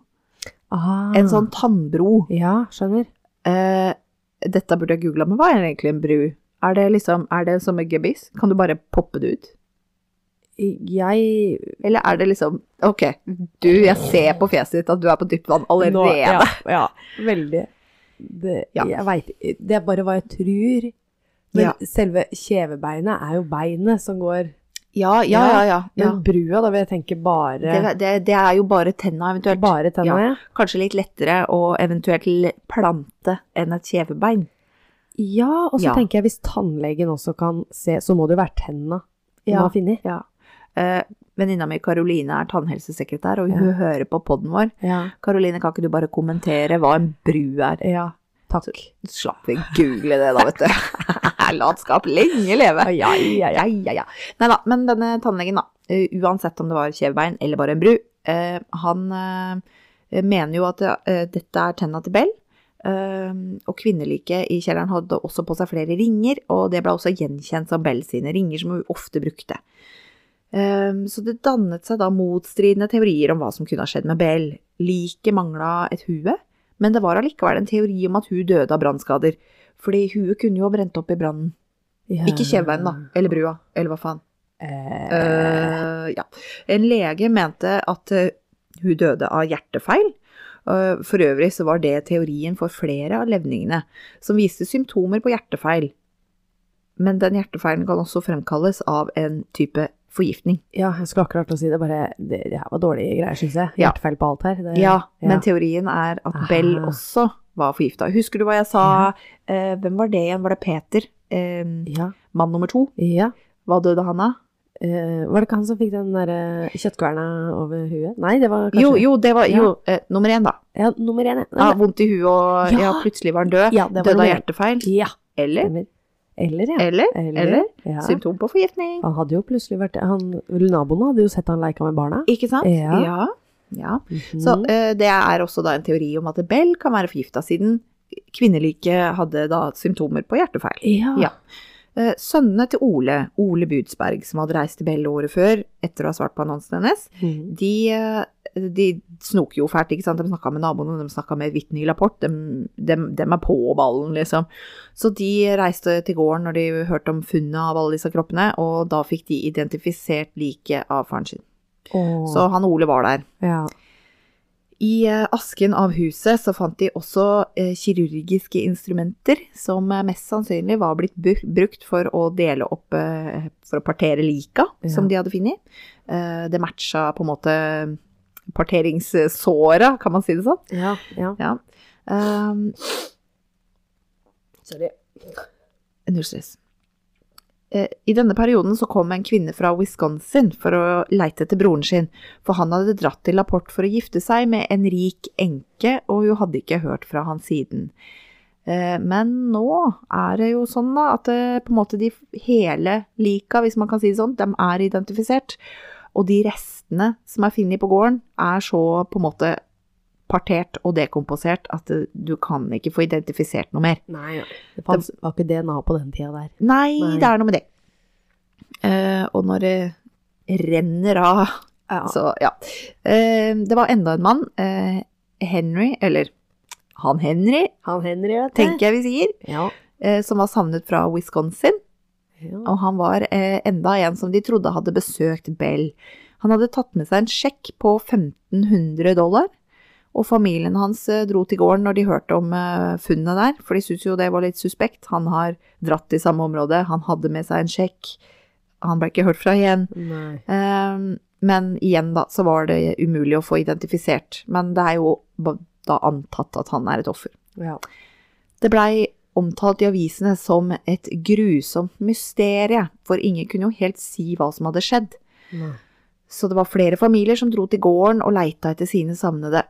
Ah. en sånn tannbro. Ja, skjønner. Eh, dette burde jeg googla, men hva er egentlig en bru? Er det liksom, er det som en gebiss? Kan du bare poppe det ut? Jeg Eller er det liksom Ok, du, jeg ser på fjeset ditt at du er på dypt vann allerede. Nå- ja, ja, veldig. Det, Ja. Jeg vet, det er bare hva jeg tror. Men Ja. selve kjevebeinet er jo beinet som går. ja, ja. ja, ja, Men ja. brua, da vil jeg tenke bare, Det, det, det er jo bare tenna, eventuelt. bare Ja. tennene. Kanskje litt lettere å eventuelt l- plante enn et kjevebein. Ja, og så Ja. tenker jeg hvis tannlegen også kan se, så må det jo være tennene man har funnet. Ja. Eh, Venninna mi Karoline er tannhelsesekretær, og hun hører på podden vår. Ja. Karoline, kan ikke du bare kommentere hva en bru er? ja. Takk. Slapp vi google det da, vet du. Latskap lenge leve. Ai, ai, ai, Ja, ja, ja. Nei da, men denne tannlegen, da, eh, uansett om det var kjevebein eller bare en bru, eh, han eh, mener jo at eh, dette er tenna til Bell. eh, og kvinneliket i kjelleren hadde også på seg flere ringer, og det ble også gjenkjent som Bell sine ringer, som hun ofte brukte. Eh, så det dannet seg da motstridende teorier om hva som kunne ha skjedd med Bell. Liket mangla et hue, men det var allikevel en teori om at hun døde av brannskader. Fordi huet kunne jo ha brent opp i brannen. Ja. Ikke kjevebein, da. Eller brua. Eller hva faen. Eh, Eh, ja. En lege mente at eh, hun døde av hjertefeil. Eh, for øvrig så var det teorien for flere av levningene, som viste symptomer på hjertefeil. Men den hjertefeilen kan også fremkalles av en type forgiftning. ja, jeg skulle akkurat til å si det, bare det, det her var dårlige greier, syns jeg. Ja. Hjertefeil på alt her. Det, Ja, men teorien er at Bell Aha. også var forgifta. Husker du hva jeg sa? Eh, hvem var det igjen? Var det Peter? Eh, ja. mann nummer to? ja. Hva døde han av? Eh, var det ikke han som fikk den der eh, kjøttkverna over huet? Nei, det var kanskje Jo, jo, det var jo eh, nummer én, da. Ja, nummer én. Ja, Ja, vondt i huet og ja. Ja. plutselig var han død. Ja, det var Døde av noe. hjertefeil. ja. Eller, Stemmer. Eller, ja. eller, Eh, eller ja. symptom på forgiftning. Han hadde jo plutselig vært han, Naboene hadde jo sett han leika med barna. Ikke sant? Ja. ja. ja. Mhm. Så eh, det er også da en teori om at Bell kan være forgifta siden kvinneliket hadde da symptomer på hjertefeil. ja. ja. Eh, Sønnene til Ole, Ole Budsberg, som hadde reist til Bell året før etter å ha svart på annonsen hennes, Mm. de, eh, de snoker jo fælt, ikke sant? De snakka med naboene, de snakka med Whitney Laporte, de, de, de er på ballen, liksom. Så de reiste til gården når de hørte om funnet av alle disse kroppene, og da fikk de identifisert liket av faren sin. Åh, Så han Ole var der. ja. I eh, asken av huset så fant de også eh, kirurgiske instrumenter, som eh, mest sannsynlig var blitt bu- brukt for å dele opp, eh, for å partere lika Ja. som de hadde funnet. Eh, det matcha på en måte parteringssåra, kan man si det sånn. ja, ja. Ja. Um, Sorry. Null stress. Eh, I denne perioden så kom en kvinne fra Wisconsin for å leite etter broren sin, for han hadde dratt til Laporte for å gifte seg med en rik enke, og hun hadde ikke hørt fra han siden. Eh, Men nå er det jo sånn da, at eh, på en måte de hele lika, hvis man kan si det sånn, de er identifisert. Og de restene som er funnet på gården, er så på en måte partert og dekomposert at eh, du kan ikke få identifisert noe mer. Nei, ja. det fanns, var ikke DNA på den tida der. Nei, Nei. det er noe med det. Eh, og når det renner av, Ja. så ja. Eh, det var enda en mann, eh, Henry, eller han Henry, Han Henry, vet du. tenker jeg vi sier, Ja. eh, som var savnet fra Wisconsin. ja. Og han var eh, enda en som de trodde hadde besøkt Bell. Han hadde tatt med seg en sjekk på 1500 dollar. Og familien hans eh, dro til gården når de hørte om eh, funnet der, for de syntes jo det var litt suspekt. Han har dratt i samme område, han hadde med seg en sjekk. Han ble ikke hørt fra igjen. Nei. Ehm, men igjen da, så var det umulig å få identifisert. Men det er jo ba- da antatt at han er et offer. Ja. Det blei omtalt i avisene som et grusomt mysterie, for ingen kunne jo helt si hva som hadde skjedd. Nei. Så det var flere familier som dro til gården og leita etter sine savnede,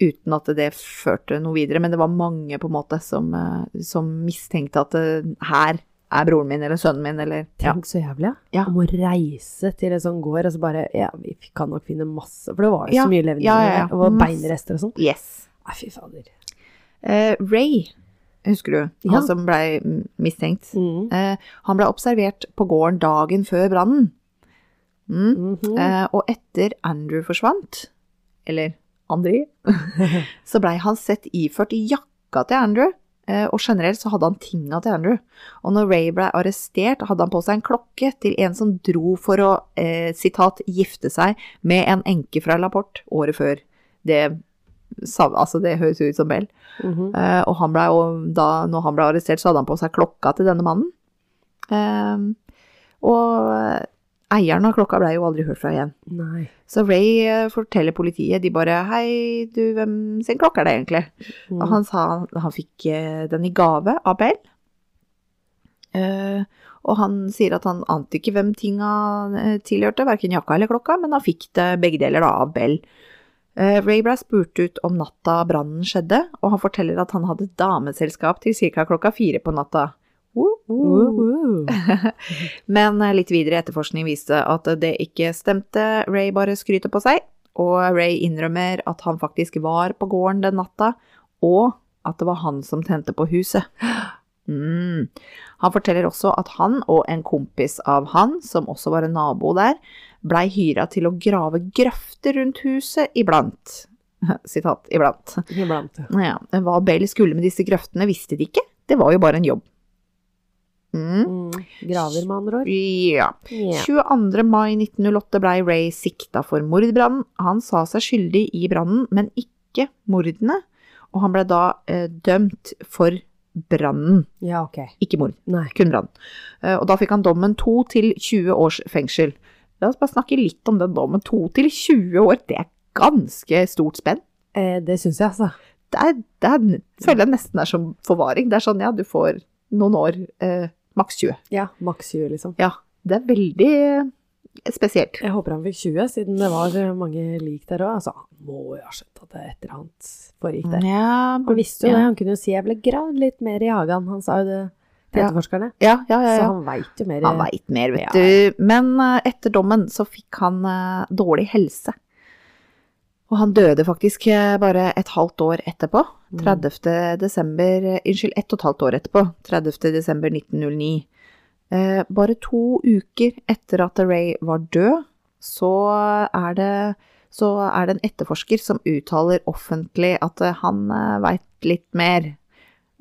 uten at det førte noe videre. Men det var mange på en måte som, eh, som mistenkte at eh, her er broren min eller sønnen min eller ja. Tenk så jævlig, Ja. Om å reise til en sånn gård, og så bare Ja, vi kan nok finne masse For det var jo Ja, så mye levende ja, ja, ja. der. Og Masse. beinrester og sånn. Yes. Nei, fy fader. Eh, Ray, husker du? Ja. Han som blei mm, mistenkt. Mhm. Eh, han blei observert på gården dagen før brannen. Mm. Mhm. Eh, og etter Andrew forsvant, eller André, så blei han sett iført i jakka til Andrew, eh, og generelt så hadde han tinga til Andrew. Og når Ray blei arrestert, hadde han på seg en klokke til en som dro for å, eh, sitat, gifte seg med en enke fra Laporte året før. Det, sa- altså det høres jo ut som Bell. Mhm. Eh, og han ble, jo da når han ble arrestert, så hadde han på seg klokka til denne mannen. Eh, og eieren av klokka ble jo aldri hørt fra igjen. Nei. Så Ray eh, forteller politiet, de bare 'Hei, du, hvem sin klokke er det egentlig?' Mhm. Og han sa han fikk eh, den i gave av Bell. Eh, og han sier at han ante ikke hvem tinga eh, tilhørte, verken jakka eller klokka, men han fikk det begge deler da, av Bell. Eh, Ray ble spurt ut om natta brannen skjedde, og han forteller at han hadde dameselskap til ca. klokka fire på natta. Woo, woo. Woohoo. Men eh, litt videre etterforskning viste at det ikke stemte. Ray bare skryter på seg, og Ray innrømmer at han faktisk var på gården den natta, og at det var han som tente på huset. Mm. Han forteller også at han og en kompis av han, som også var en nabo der, blei hyra til å grave grøfter rundt huset iblant. Sitat iblant. Iblant. Ja, hva Bell skulle med disse grøftene, visste de ikke. Det var jo bare en jobb. Mm. Mm. Graver, med andre ord. Ja. Ja. 22. mai 1908 blei Ray sikta for mordbrannen. Han sa seg skyldig i brannen, men ikke mordene. Og han ble da eh, dømt for brannen, ja, ok. ikke mord, Nei. kun brann. Eh, og da fikk han dommen 2 til 20 års fengsel. La oss bare snakke litt om den dommen. 2 til 20 år, det er ganske stort spenn. Eh, det syns jeg, altså. Det, er, det er, føler jeg nesten er som forvaring. Det er sånn, ja, du får noen år, eh, maks 20. Ja. Maks 20, liksom. Ja, det er veldig eh, spesielt. Jeg håper han fikk 20, siden det var eh, mange lik der òg. Altså, han må jo ha skjønt at det er et eller annet foregikk der. Ja, Han visste jo ja. det. Han kunne jo si 'jeg ble gravd litt mer i hagen', han sa jo det til Ja. etterforskerne. Ja, ja, ja, Så ja. han veit jo mer. Han veit mer, vet Ja. du. Men eh, etter dommen så fikk han eh, dårlig helse. Og han døde faktisk eh, bare et halvt år etterpå. Mm. 30. desember, eh, unnskyld, ett og et halvt år etterpå. 30. desember 1909. Eh, bare to uker etter at Ray var død, så eh, er det, så er det en etterforsker som uttaler offentlig at eh, han eh, veit litt mer.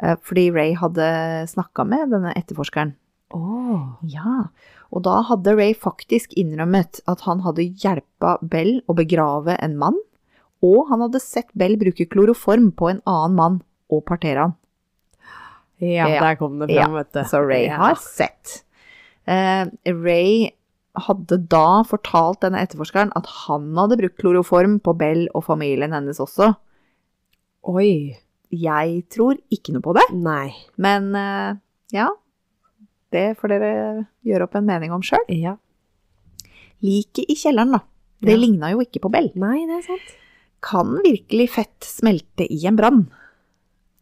Eh, fordi Ray hadde snakka med denne etterforskeren. Åh. Ja, og da hadde Ray faktisk innrømmet at han hadde hjelpa Bell å begrave en mann, og han hadde sett Bell bruke kloroform på en annen mann og partere han. Ja, Ja. der kom det Ja, fram, vet du. Så Ray Ja. har sett. Eh, Ray hadde da fortalt denne etterforskeren at han hadde brukt kloroform på Bell og familien hennes også. Oi. Jeg tror ikke noe på det, Nei. men eh, ja, det får dere gjøre opp en mening om sjøl. Ja. Liket i kjelleren, da. Det Ja. ligna jo ikke på Bell. Nei, det er sant. Kan virkelig fett smelte i en brann?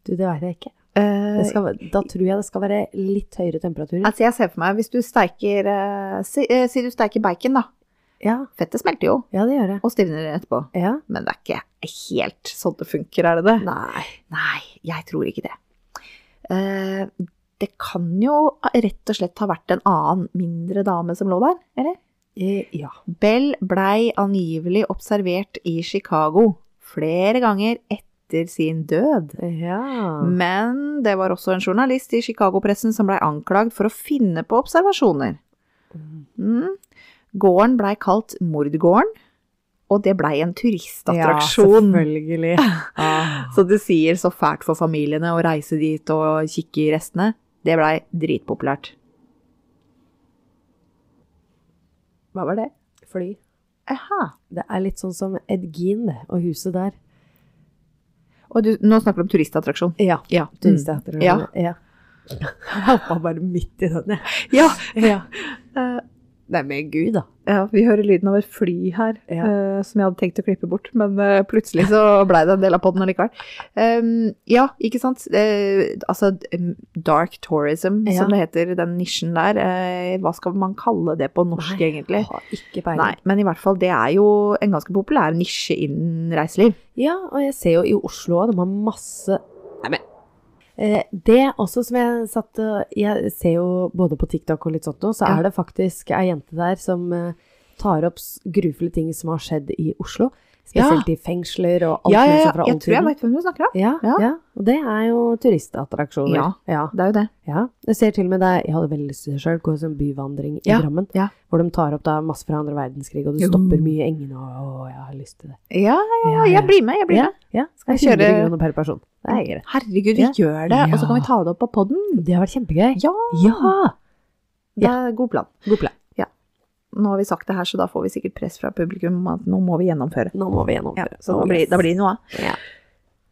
Du, det veit jeg ikke. Eh, Det skal, da tror jeg det skal være litt høyere temperaturer. altså, jeg ser for meg, hvis du steiker eh, si, eh, si du steiker bacon, da. Ja, Fettet smelter jo, ja det gjør det. og stivner etterpå. Ja. Men det er ikke helt sånn det funker, er det det? Nei. Nei, jeg tror ikke det. Eh, det kan jo rett og slett ha vært en annen mindre dame som lå der, eller? Eh, Ja. Bell blei angivelig observert i Chicago flere ganger etter sin død. Ja. Men det var også en journalist i Chicago-pressen som blei anklagd for å finne på observasjoner. Mm. Gården blei kalt Mordgården, og det blei en turistattraksjon. Ja, selvfølgelig. Ah. Så det sier så fælt for familiene å reise dit og kikke i restene. Det blei dritpopulært. Hva var det? Fly. Aha. Det er litt sånn som Edgin det, og huset der. Og du, nå snakker du om turistattraksjon. Mm. Ja. Ja. Turisteateret. Ja. Mm. ja. Jeg var bare midt i den, jeg. Ja. Ja. eh, Nei, men gud, da. ja, vi hører lyden av et fly her, Ja. eh, som jeg hadde tenkt å klippe bort, men eh, plutselig så blei det en del av poden allikevel. Um, ja, ikke sant. Eh, altså, um, dark tourism, Ja. som det heter, den nisjen der. eh, hva skal man kalle det på norsk, Nei, egentlig? Jeg har ikke peiling. Nei, men i hvert fall, det er jo en ganske populær nisje innen reiseliv. Ja, og jeg ser jo i Oslo også, de har masse Nei, men eh, Det også som jeg satt eh, Jeg ser jo både på TikTok og litt sånt nå, så Ja. er det faktisk ei jente der som eh, tar opp s- grufulle ting som har skjedd i Oslo. Spesielt i fengsler og alt mulig sånt fra jeg tror jeg oldtiden. vet hvem du snakker om. Ja, Ja. ja. og det er jo turistattraksjoner. Ja. ja. Det er jo det. Ja, jeg ser til og med det. Jeg hadde veldig lyst til det sjøl, gå som byvandring i Ja, Drammen. ja. Hvor de tar opp da masse fra andre verdenskrig, og du Jo. stopper mye i engene og Å, jeg har lyst til det. Ja, ja, jeg blir med, jeg blir Ja, med. ja. Skal Skal jeg jeg kjøre- 100 kroner per person. Det er greit. Herregud, vi Ja. gjør det, og så kan vi ta det opp på podden. Det har vært kjempegøy. Ja, det Ja. er god plan. God plan. Nå har vi sagt det her, så da får vi sikkert press fra publikum om at nå må vi gjennomføre. Nå må vi gjennom. Ja, så da blir, da blir det noe av. Ja.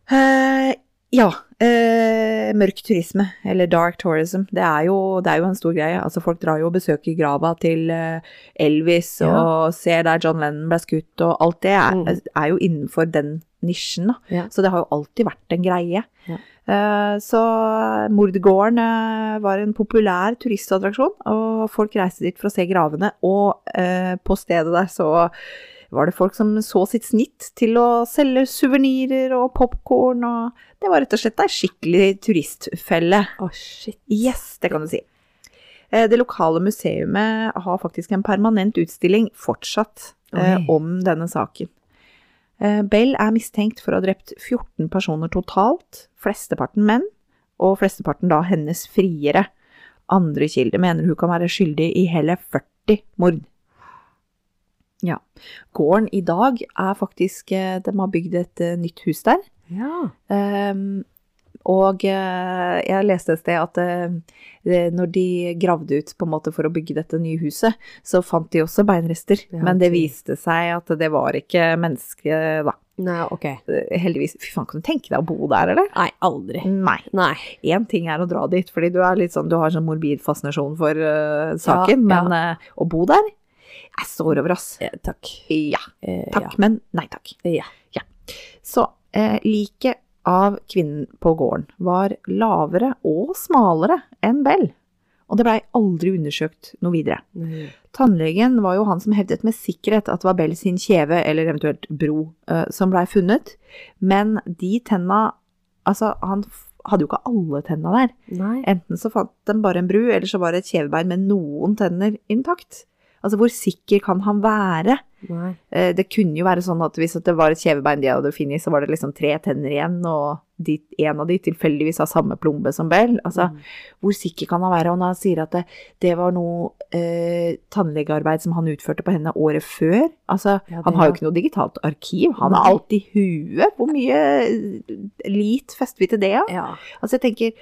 Eh, ja, eh, mørk turisme, eller dark tourism, det er, jo, det er jo en stor greie. Altså, folk drar jo og besøker grava til eh, Elvis, og ser der John Lennon ble skutt, og alt det er, Mm. er jo innenfor den nisjen. Da. Ja. Så det har jo alltid vært en greie. Ja. Eh, så Mordgården eh, var en populær turistattraksjon, og folk reiste dit for å se gravene. Og eh, på stedet der så var det folk som så sitt snitt til å selge suvenirer og popkorn og Det var rett og slett ei skikkelig turistfelle. Å, shit. Yes, det kan du si. Eh, Det lokale museumet har faktisk en permanent utstilling fortsatt eh, Oi. om denne saken. Eh, Bell er mistenkt for å ha drept 14 personer totalt, flesteparten menn, og flesteparten da hennes friere. Andre kilder mener hun kan være skyldig i hele 40 mord. Ja. Gården i dag er faktisk eh, De har bygd et eh, nytt hus der. Ja. Ehm, og eh, jeg leste et sted at eh, det- når de gravde ut på en måte for å bygge dette nye huset, så fant de også beinrester. Ja, men det ok. viste seg at det var ikke menneske, da. Nei, ok. Eh, Heldigvis. Fy faen, kan du tenke deg å bo der, eller? Nei, aldri. Nei. Nei. Én ting er å dra dit, fordi du, er litt sånn, du har sånn morbid fascinasjon for eh, saken, ja. men eh, å bo der Jeg står over, ass. Eh, takk. Ja. Eh, Takk, men nei takk. Ja. Så eh, liket av kvinnen på gården var lavere og smalere enn Bell, og det blei aldri undersøkt noe videre. Ja. Tannlegen var jo han som hevdet med sikkerhet at det var Bell sin kjeve, eller eventuelt bro, eh, som blei funnet, men de tenna Altså, han f- hadde jo ikke alle tenna der. Nei. Enten så fant de bare en bru, eller så var det et kjevebein med noen tenner intakt. Altså, hvor sikker kan han være? Nei. Eh, Det kunne jo være sånn at hvis at det var et kjevebein de hadde funnet, så var det liksom tre tenner igjen, og de, en av de tilfeldigvis har samme plombe som Bell. Altså, Mm. hvor sikker kan han være? Og når han sier at det, det var noe eh, tannlegearbeid som han utførte på henne året før Altså, Ja, det han har er- jo ikke noe digitalt arkiv. Han Nei. har alt i huet. Hvor mye eh, lit fester vi til det, da? Ja. Altså, jeg tenker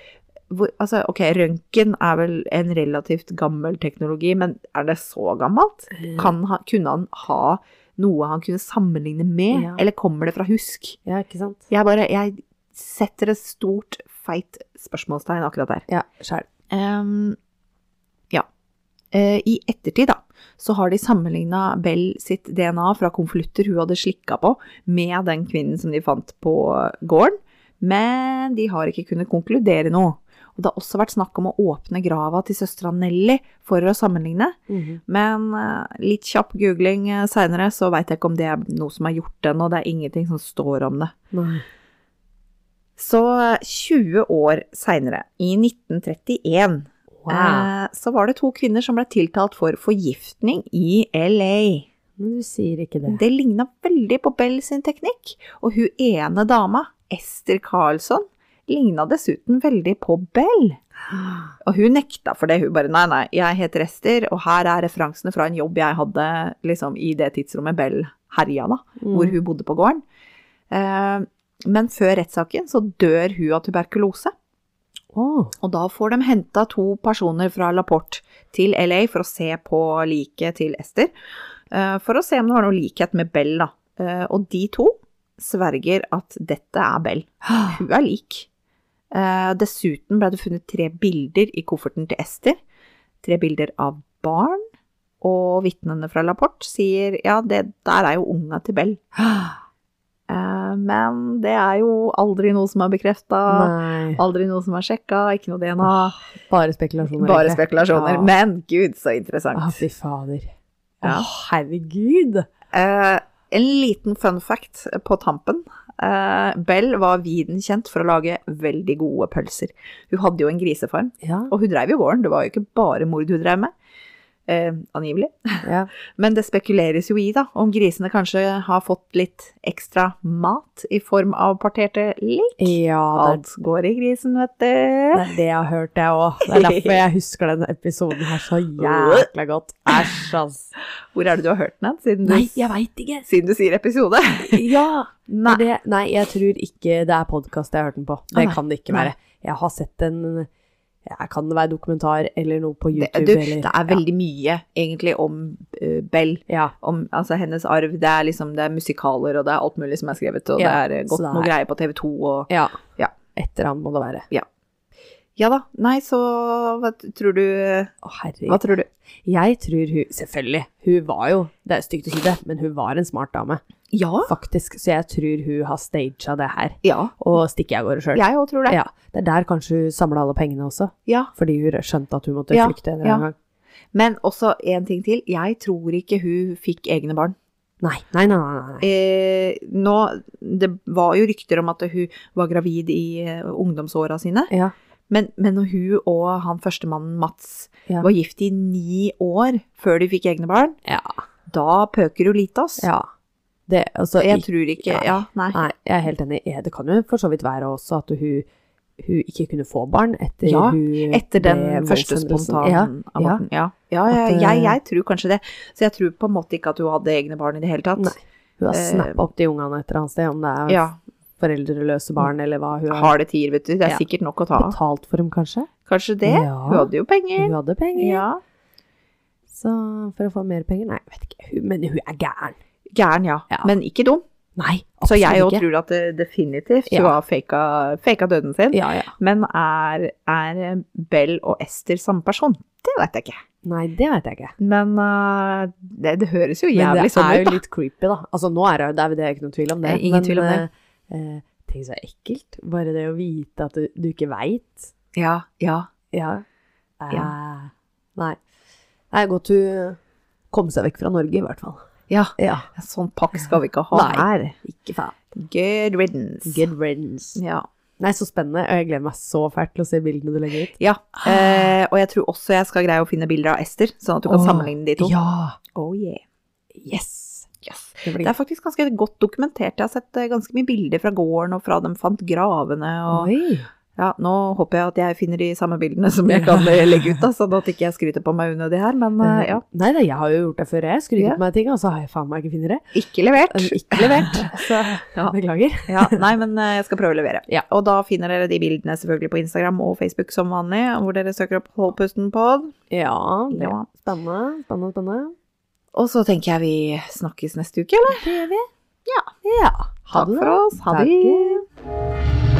hvor, altså, Ok, røntgen er vel en relativt gammel teknologi, men er det så gammelt? Kan han, kunne han ha noe han kunne sammenligne med, Ja. eller kommer det fra husk? Ja, ikke sant? Jeg bare Jeg setter et stort, feit spørsmålstegn akkurat der. Ja, sjæl. Ehm, ja. Eh, I ettertid, da, så har de sammenligna Bell sitt DNA fra konvolutter hun hadde slikka på, med den kvinnen som de fant på gården, men de har ikke kunnet konkludere noe. Og det har også vært snakk om å åpne grava til søstera Nelly for å sammenligne, Mhm. men eh, litt kjapp googling eh, seinere, så veit jeg ikke om det er noe som er gjort ennå, det er ingenting som står om det. Nei. Så eh, 20 år seinere, i 1931, Wow. Eh, Så var det to kvinner som ble tiltalt for forgiftning i LA. Men du sier ikke det. Det ligna veldig på Bell sin teknikk, og hun ene dama, Ester Carlsson, ligna dessuten veldig på Bell. Og hun nekta for det. Hun bare nei, nei, jeg heter Ester, og her er referansene fra en jobb jeg hadde liksom, i det tidsrommet Bell herja, da Mm. hvor hun bodde på gården. Eh, Men før rettssaken så dør hun av tuberkulose. Å, Og da får de henta to personer fra Laporte til LA for å se på liket til Ester. eh, For å se om det var noe likhet med Bell, da. Eh, Og de to sverger at dette er Bell. Hun er lik. Eh, Dessuten ble det funnet tre bilder i kofferten til Ester. Tre bilder av barn. Og vitnene fra Laporte sier ja, det der er jo unga til Bell. Eh, Men det er jo aldri noe som er bekrefta. Nei. Aldri noe som er sjekka, ikke noe DNA. Bare spekulasjoner. Bare egentlig. spekulasjoner. Ja. Men gud, så interessant. Å, fy fader. Ja. Å, herregud! Eh, en liten fun fact på tampen. Eh, Bell var viden kjent for å lage veldig gode pølser. Hun hadde jo en grisefarm, Ja. og hun dreiv jo gården. Det var jo ikke bare mord hun dreiv med. Eh, angivelig. ja. Men det spekuleres jo i, da, om grisene kanskje har fått litt ekstra mat i form av parterte lik. Ja, det Alt går i grisen, vet du. er, det er det jeg har hørt, jeg òg. Det er derfor jeg husker den episoden her så jækla godt. Æsj, ass. Hvor er det du har hørt den, siden du, veit ikke. siden du sier episode? Ja. Nei. Det, nei, jeg tror ikke det er podkast jeg har hørt den på. Å, Det nei. kan det ikke være. Jeg har sett en ja, Kan det være dokumentar eller noe på Det, YouTube? du, eller, det er veldig mye egentlig om eh, Bell, ja. om altså, hennes arv. Det er liksom det er musikaler og det er alt mulig som er skrevet, og Ja, det er eh, så gått det noe er- greier på TV 2 og ja. Ja. Etter han må det være. Ja da, nei, så hva t- tror du Å, Hva herregud. tror du? Jeg tror hun Selvfølgelig. Hun var jo Det er stygt å si det, men hun var en smart dame, Ja. faktisk. Så jeg tror hun har staged det her. Ja, Og stikker jeg av gårde sjøl. jeg òg tror det. Ja, det er der kanskje hun samla alle pengene også, Ja. fordi hun skjønte at hun måtte Ja, flykte en eller ja. annen gang. Men også en ting til. Jeg tror ikke hun fikk egne barn. Nei, nei, nei. nei, nei. Eh, nå, det var jo rykter om at hun var gravid i eh, ungdomsåra sine. Ja, Men, men når hun og han førstemannen Mats Ja. var gift i ni år før de fikk egne barn, Ja. da pøker hun lite, ass. ja. Det, altså, Jeg tror ikke Nei. Ja, nei. Nei, jeg er helt enig. Eh, Det kan jo for så vidt være også at hun, hun ikke kunne få barn etter Ja, hun Etter den ble første voldshendelsen. spontanaborten. Ja, ja. ja, At, eh, jeg, jeg tror kanskje det. Så jeg tror på en måte ikke at hun hadde egne barn i det hele tatt. Nei. Ja, hun har Eh, snappa opp de ungene et eller annet sted, om det er Ja, foreldreløse barn eller hva. Hun har Har det tier, vet du. Det er Ja. sikkert nok å ta av. betalt for dem, kanskje. Kanskje det. Ja. Hun hadde jo penger. Hun hadde penger, Ja. så for å få mer penger Nei, jeg vet ikke. Hun, men hun er gæren. Gæren, ja. Ja. Men ikke dum. Nei, Så jeg òg absolutt ikke. tror at det definitivt Ja. hun har faka, faka døden sin. Ja, ja. Men er, er Bell og Ester samme person? Det vet jeg ikke. Nei, det veit jeg ikke. Men eh, det, det høres jo Men jævlig det sånn er ut, jo da. litt creepy, da. Altså, nå er det, det er det ikke noen tvil om det. Det er ingen tvil om det. Eh, eh, tenk så ekkelt. Bare det å vite at du, du ikke veit. Ja, ja. Ja. Eh, Ja. Nei. Det er godt hun kom seg vekk fra Norge, i hvert fall. Ja, Ja. sånn pakk skal vi ikke ha Nei. her. Ikke faen. Good riddance. Good riddance. Ja. Nei, så spennende. Og jeg gleder meg så fælt til å se bildene du legger ut. Ja, eh, og jeg tror også jeg skal greie å finne bilder av Ester, sånn at du kan Åh, sammenligne de to. Ja! Oh, yeah. Yes! Yes. Det blir Det er faktisk ganske godt dokumentert. Jeg har sett eh, ganske mye bilder fra gården og fra de fant gravene. Og, Oi! ja, nå håper jeg at jeg finner de samme bildene som jeg kan eh, legge ut, da, sånn at ikke jeg skryter på meg unødig her. Men eh, ja, Nei da, jeg har jo gjort det før. Jeg skryter Ja. på meg ting, og så har jeg faen meg ikke funnet det. ikke levert. Eh, Ikke levert. Så Ja. beklager. Ja, nei, men eh, jeg skal prøve å levere. Ja. Og da finner dere de bildene selvfølgelig på Instagram og Facebook som vanlig, hvor dere søker opp Holdpustenpod. Ja, det Ja. spennende, spennende, spennende. Og så tenker jeg vi snakkes neste uke, eller? Det gjør vi. Ja. ja. Ha Takk det. for oss. Ha det. Takk.